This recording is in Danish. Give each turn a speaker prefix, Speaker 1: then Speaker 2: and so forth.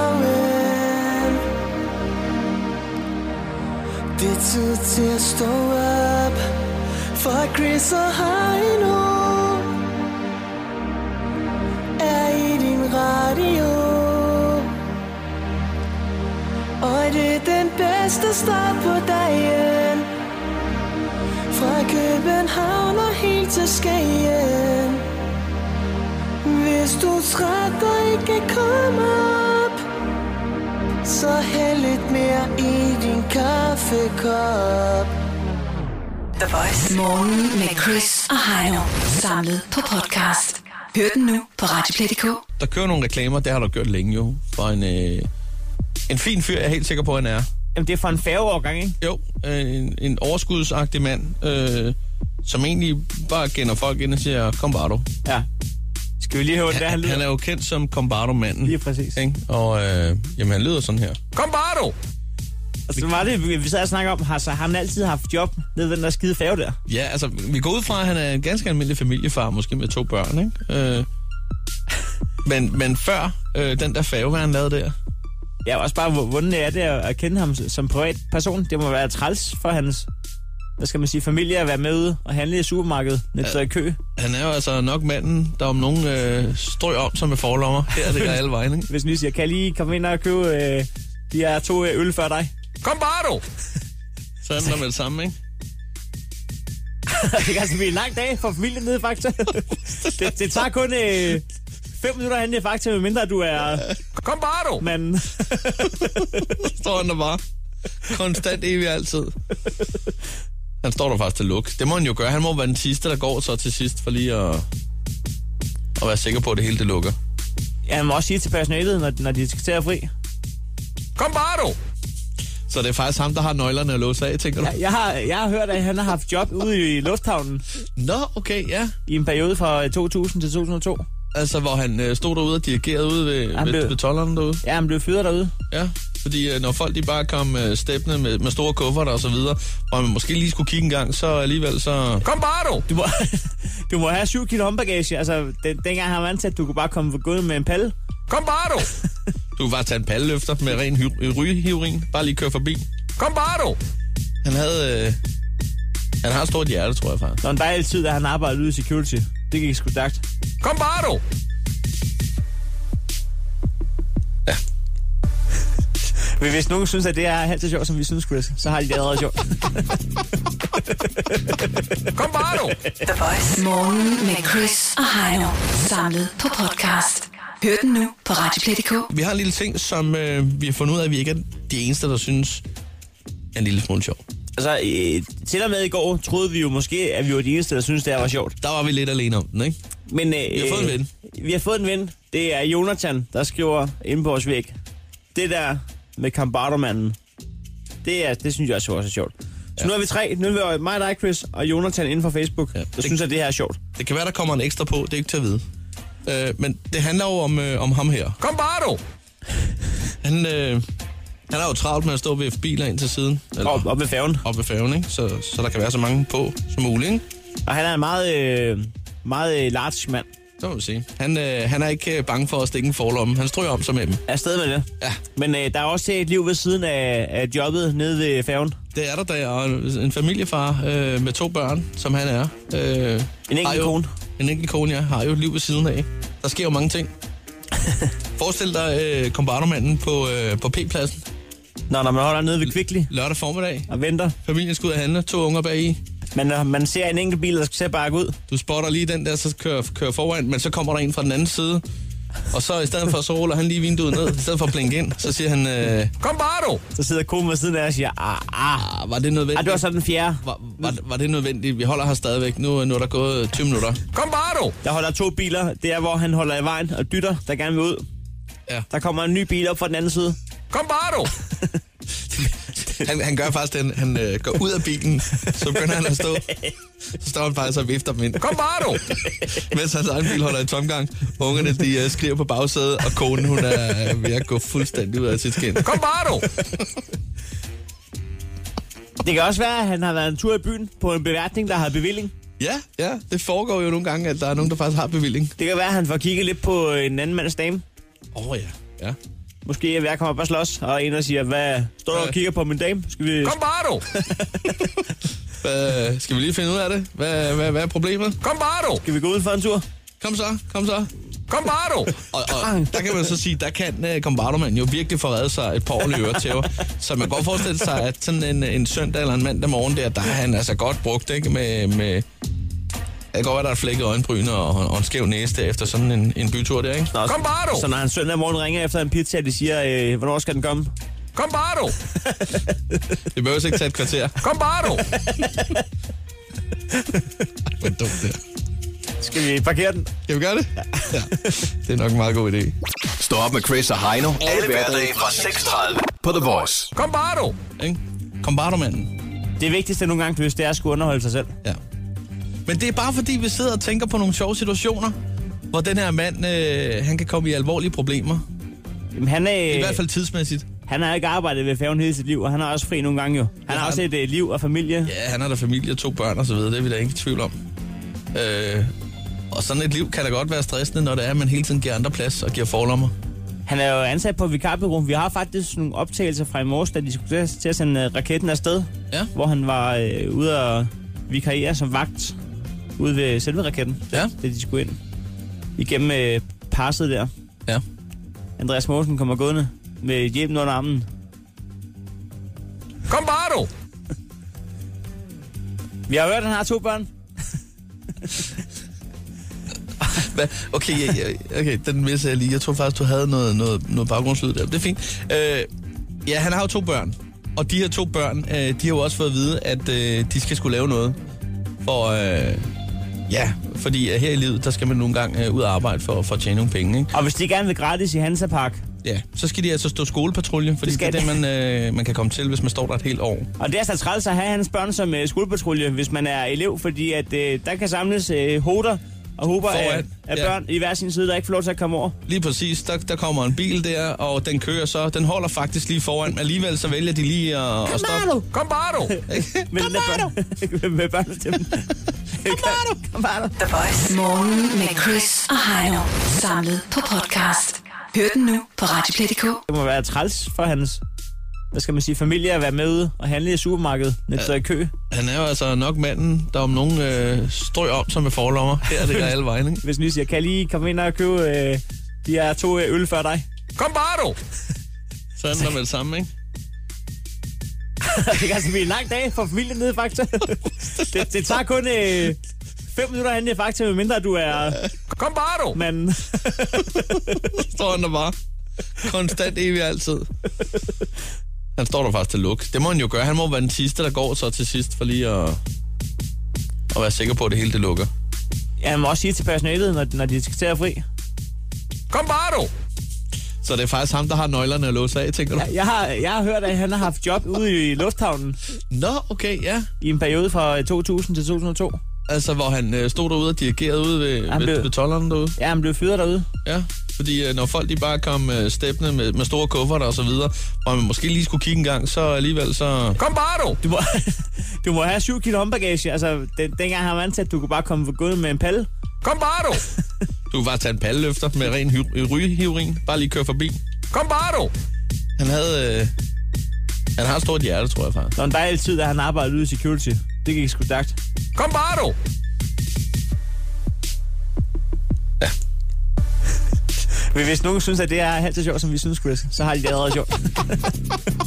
Speaker 1: Godmorgen Det er tid til at stå op For Chris og Heino Er i din radio Og det er den bedste start på dagen Fra København og helt til Skagen hvis du er træt og ikke kan komme op, så hæld lidt mere i din kaffekop.
Speaker 2: The Voice. Morgen med Chris og Heino. Samlet på podcast. Hør den nu på Radioplay.dk.
Speaker 3: der kører nogle reklamer, det har du gjort længe jo, for en, øh, en fin fyr, jeg er helt sikker på, han er.
Speaker 4: Jamen, det er for en færgeovergang, ikke?
Speaker 3: Jo, øh, en, en overskudsagtig mand, øh, som egentlig bare kender folk ind og siger, Combardo.
Speaker 4: Ja. Skal vi lige høre, hvordan det er, han
Speaker 3: Han,
Speaker 4: lyder?
Speaker 3: han er jo kendt som Combardo-manden.
Speaker 4: Lige præcis.
Speaker 3: Ikke? Og øh, jamen, han lyder sådan her. Combardo!
Speaker 4: Og så var det, vi- vi sad og snakkede om, har så har han altid haft job nede ved den der skide færge der?
Speaker 3: Ja, altså, vi går ud fra, at han er en ganske almindelig familiefar, måske med to børn, ikke? Øh, men, men før øh, den der fave, hvad han lavede der,
Speaker 4: Jeg har også bare, hvor- hvordan det er det at at kende ham s- som privat person. Det må være træls for hans, hvad skal man sige, familie at være med ude og handle i supermarkedet, når de står i kø.
Speaker 3: han er jo altså nok manden, der om nogen øh, strøg om sig med forlommer. Her er det der alle vejen, ikke?
Speaker 4: Hvis nu siger, kan jeg lige komme ind og købe øh, de her to øh, øl før dig?
Speaker 3: Kom bare du! Så er den der med det samme, ikke?
Speaker 4: Det kan altså blive en lang dag for familien nede i Fakta. det, det tager kun øh, fem minutter at handle i Fakta, medmindre du er
Speaker 3: Kom bare du!
Speaker 4: manden.
Speaker 3: Står han der bare. Konstant evig altid. Han står der faktisk til luk. Det må han jo gøre. Han må være den sidste, der går så til sidst, for lige at, at være sikker på, at det hele det lukker.
Speaker 4: Jeg må også sige til personalet, når, når de skal til at fri.
Speaker 3: Kom bare du! Så det er faktisk ham, der har nøglerne at låse af, tænker du?
Speaker 4: Jeg, jeg, har, jeg har hørt, at han har haft job ude i lufthavnen
Speaker 3: Nå, okay, ja.
Speaker 4: i en periode fra 2000 til 2002.
Speaker 3: Altså, hvor han øh, stod derude og dirigerede ude ved,
Speaker 4: Han
Speaker 3: ved,
Speaker 4: blev-
Speaker 3: ved tollerne derude.
Speaker 4: Ja, han blev fyret derude.
Speaker 3: Ja, fordi øh, når folk de bare kom øh, steppende med, med store kufferter og så videre, og man måske lige skulle kigge en gang, så alligevel så... Kom bare du!
Speaker 4: Du må, du må have 7 kilo håndbagage. Altså, den, dengang har man ansat, at du kunne bare komme gået med en palle.
Speaker 3: Kom bare du! Du kan bare tage en palleløfter med ren hy- rygeheroin. Bare lige køre forbi. Kom bare du! Han havde... Øh, han har et stort hjerte, tror jeg faktisk.
Speaker 4: Det var en dejlig tid, da han arbejdede ude i security. Det gik sgu stærkt.
Speaker 3: Kom bare du!
Speaker 4: Men hvis nogen synes, at det er halvt så sjovt, som vi synes, Chris, så har de det allerede sjovt.
Speaker 3: Kom bare du!
Speaker 2: The Voice. Morgen med Chris og Heino. Samlet på podcast. Hør den nu på Radioplay.dk.
Speaker 3: Vi har en lille ting, som øh, vi har fundet ud af, at vi ikke er de eneste, der synes er en lille smule sjov.
Speaker 4: altså, øh, til og med i går troede vi jo måske, at vi var de eneste, der synes det her var sjovt.
Speaker 3: Der var vi lidt alene om den, ikke?
Speaker 4: Men, øh, vi
Speaker 3: har fået en ven.
Speaker 4: Vi har fået en ven. Det er Jonathan, der skriver inde på vores væg. Det der med Kambardomanden, det, er, det synes jeg også var så sjovt. Så ja. nu er vi tre. Nu er vi mig, dig, Chris og Jonathan inde for Facebook, ja, der
Speaker 3: det-
Speaker 4: det... synes, at det her er sjovt.
Speaker 3: Det kan være, der kommer en ekstra på. Det er ikke til at vide. Øh, men det handler jo om, øh, om ham her. Kom bare du! Han, øh, han er jo travlt med at stå ved biler ind til siden. Eller
Speaker 4: Op, op ved færgen.
Speaker 3: op ved færgen, ikke? Så, så der kan være så mange på som muligt, ikke?
Speaker 4: Og han er en meget, øh, meget øh, large mand.
Speaker 3: Så må vi se. Han, øh, han er ikke øh, bange for at stikke en forlomme. Han stryger om sig med dem.
Speaker 4: Er afsted med det.
Speaker 3: Ja,
Speaker 4: Men øh, der er også et liv ved siden af, af jobbet nede ved færgen.
Speaker 3: det er der da. Og en en familiefar øh, med to børn, som han er. Øh, en
Speaker 4: enkelt kone.
Speaker 3: En enkelt kone, ja. Har jo et liv ved siden af. Der sker jo mange ting. Forestil dig øh, kombardomanden på, øh, på P-pladsen
Speaker 4: Nå, når man holder nede ved Kvickly
Speaker 3: lørdag formiddag.
Speaker 4: og venter.
Speaker 3: Familien skal ud at handle, to unger bag i.
Speaker 4: Man, øh, man ser en enkelt bil, der skal til at bakke ud.
Speaker 3: Du spotter lige den der, så kører, kører foran, men så kommer der en fra den anden side. Og så i stedet for, så ruller han lige vinduet ned. I stedet for at blinke ind, så siger han... Øh, Kom bare du!
Speaker 4: Så sidder konen ved siden af og siger, ah, ah.
Speaker 3: Ah, var det
Speaker 4: Ah,
Speaker 3: nødvendigt?
Speaker 4: det var så den fjerde.
Speaker 3: var, var, var, det nødvendigt? Vi holder her stadigvæk. Nu, nu er der gået øh, 20 minutter. Kom bare du!
Speaker 4: Der holder to biler. Det er, hvor han holder i vejen og dytter, der gerne vil ud.
Speaker 3: Ja.
Speaker 4: Der kommer en ny bil op fra den anden side.
Speaker 3: Kom bare du! han, han gør faktisk den, han øh, går ud af bilen, så begynder han at stå. Så står han faktisk og vifter dem ind. Kom bare du! Mens hans egen bil holder i tomgang. Ungerne, de øh, skriver på bagsædet, og konen, hun er øh, ved at gå fuldstændig ud af sit skin. Kom bare du!
Speaker 4: Det kan også være, at han har været en tur i byen på en beværtning, der har bevilling.
Speaker 3: Ja, ja, det foregår jo nogle gange, at der er nogen, der faktisk har bevilling.
Speaker 4: Det kan være, at han får kigget lidt på en anden mands dame.
Speaker 3: Åh oh, ja. Ja.
Speaker 4: Måske at jeg kommer bare slås, og en der siger, hvad står du og kigger på min dame? Skal vi...
Speaker 3: Kom bare, du! Hvad, skal vi lige finde ud af det? Hvad, hvad, hvad er problemet? Kom bare, du!
Speaker 4: Skal vi gå ud for en tur?
Speaker 3: Kom så, kom så. Kom bare, du! Og, og der kan man så sige, der kan uh, kombardoman jo virkelig forrede sig et par ordentlige øretæver. Så man kan godt forestille sig, at sådan en, en søndag eller en mandag morgen der, der er han altså godt brugt, ikke? Med, med det kan godt være, der er flækket øjenbryn og, og en skæv næse der efter sådan en, en bytur der, ikke?
Speaker 4: Nå,
Speaker 3: Kom bare, du!
Speaker 4: Så når han søndag morgen ringer efter en pizza, og de siger, øh, hvornår skal den komme?
Speaker 3: Kom bare, du! Det behøver ikke tage et kvarter. Kom bare, du! Hvor dumt det er.
Speaker 4: Skal vi parkere den?
Speaker 3: Skal vi gøre det? Ja. Det er nok en meget god idé.
Speaker 5: Stå op med Chris og Heino. Alle hverdage fra 6.30 på The Voice.
Speaker 3: Kom bare, du! Ikke? Kom bare, du, manden.
Speaker 4: Det vigtigste nogle gange, Chris, det er at skulle underholde sig selv.
Speaker 3: Ja. Men det er bare fordi, vi sidder og tænker på nogle sjove situationer, hvor den her mand, øh, han kan komme i alvorlige problemer.
Speaker 4: Jamen, han, er,
Speaker 3: I hvert fald tidsmæssigt.
Speaker 4: han har ikke arbejdet ved færgen hele sit liv, og han er også fri nogle gange jo. Han har
Speaker 3: har
Speaker 4: også
Speaker 3: han.
Speaker 4: et øh, liv og familie. Yeah.
Speaker 3: Ja, han har da familie og to børn og så videre, det er vi da ikke i tvivl om. Øh, og sådan et liv kan da godt være stressende, når det er, at man hele tiden giver andre plads og giver forlommer.
Speaker 4: Han er jo ansat på et vikarbyrå. Vi har faktisk nogle optagelser fra i morges, da de skulle til at- til at sende øh, raketten afsted.
Speaker 3: Ja.
Speaker 4: Hvor han var øh, ude og vikariere som vagt ude ved selve raketten,
Speaker 3: Ja.
Speaker 4: da de skulle ind. Igennem øh, passet der.
Speaker 3: Ja.
Speaker 4: Andreas Mogensen kommer gående med hjelmen under armen.
Speaker 3: Kom bare, du!
Speaker 4: Vi har hørt, at han har to børn.
Speaker 3: Hva? Okay, ja, ja, okay, den misser jeg lige. Jeg tror faktisk, du havde noget, noget, noget baggrundslyd der. Det er fint. Øh, ja, han har jo to børn. Og de her to børn, øh, de har jo også fået at vide, at øh, de skal skulle lave noget. For, øh, ja, fordi øh, her i livet, der skal man nogle gange øh, ud og arbejde for, for at tjene nogle penge. Ikke?
Speaker 4: Og hvis de gerne vil gratis i Hansa Park,
Speaker 3: Ja, så skal de altså stå skolepatrulje, fordi
Speaker 4: Det
Speaker 3: det,
Speaker 4: skal
Speaker 3: det er det, man, øh, man kan komme til, hvis man står der et helt år.
Speaker 4: og det er altså træls at have hans børn som øh, skolepatrulje, hvis man er elev, fordi at øh, der kan samles øh, hoder og hober af,
Speaker 3: Foran,
Speaker 4: af
Speaker 3: ja.
Speaker 4: børn i hver sin side, der ikke får lov til at komme over.
Speaker 3: Lige præcis, der, der kommer en bil der, og den kører så. Den holder faktisk lige foran, men alligevel så vælger de lige at, at stoppe.
Speaker 4: Bardo!
Speaker 3: Kom bare, du! Ikke?
Speaker 4: Men Kom bare Med børnestemmen. Kom bare du! Kom bare du!
Speaker 2: The Voice. Morgen med Chris og Heino. Samlet på podcast. Hør den nu på Radioplay.dk.
Speaker 4: Det må være træls for hans, hvad skal man sige, familie at være med ude og handle i supermarkedet, når de står i kø.
Speaker 3: Han er jo altså nok manden, der om nogen øh, strøg om sig med forlommer. Her ligger alle vejen, ikke?
Speaker 4: Hvis nu siger, kan jeg lige komme ind og købe øh, de her to øh, øl før dig?
Speaker 3: Kom bare, du! Så er den der med det samme, ikke?
Speaker 4: det kan altså blive en lang dag for familien nede i Fakta. det, det tager kun øh, fem minutter hen i Fakta, medmindre du er
Speaker 3: Kom bare, du!
Speaker 4: manden.
Speaker 3: Står han der bare. Konstant evig altid. Han står der faktisk til luk. Det må han jo gøre. Han må være den sidste, der går så til sidst, for lige at, at være sikker på, at det hele det lukker.
Speaker 4: Jeg må også sige til personalet, når, når de skal til at fri.
Speaker 3: Kom bare, du! Så det er faktisk ham, der har nøglerne at låse af, tænker du?
Speaker 4: Jeg har, jeg har hørt, at han har haft job ude i lufthavnen
Speaker 3: Nå, okay, ja.
Speaker 4: i en periode fra 2000 til 2002.
Speaker 3: Altså, hvor han øh, stod derude og dirigerede ude ved,
Speaker 4: Han
Speaker 3: ved,
Speaker 4: blev-
Speaker 3: ved tolleren derude.
Speaker 4: Ja, han blev fyret derude.
Speaker 3: Ja, fordi øh, når folk de bare kom øh, steppende med, med store kufferter og så videre, og man måske lige skulle kigge en gang, så alligevel så... Kom bare, du!
Speaker 4: Du må, du må have 7 kilo håndbagage. Altså, den, dengang har man ansat, at du kunne bare komme for gået med en palle.
Speaker 3: Kom bare, du! du kan bare tage en palleløfter med ren hy- rygeheroin. Bare lige køre forbi. Kom bare, du! Han havde... Øh, han har et stort hjerte, tror jeg faktisk.
Speaker 4: Når en dejlig tid, da han arbejdede ude i security. Det gik sgu stærkt.
Speaker 3: Kom bare, du!
Speaker 4: Men hvis nogen synes, at det er halvt så sjovt, som vi synes, Chris, så har de det allerede sjovt.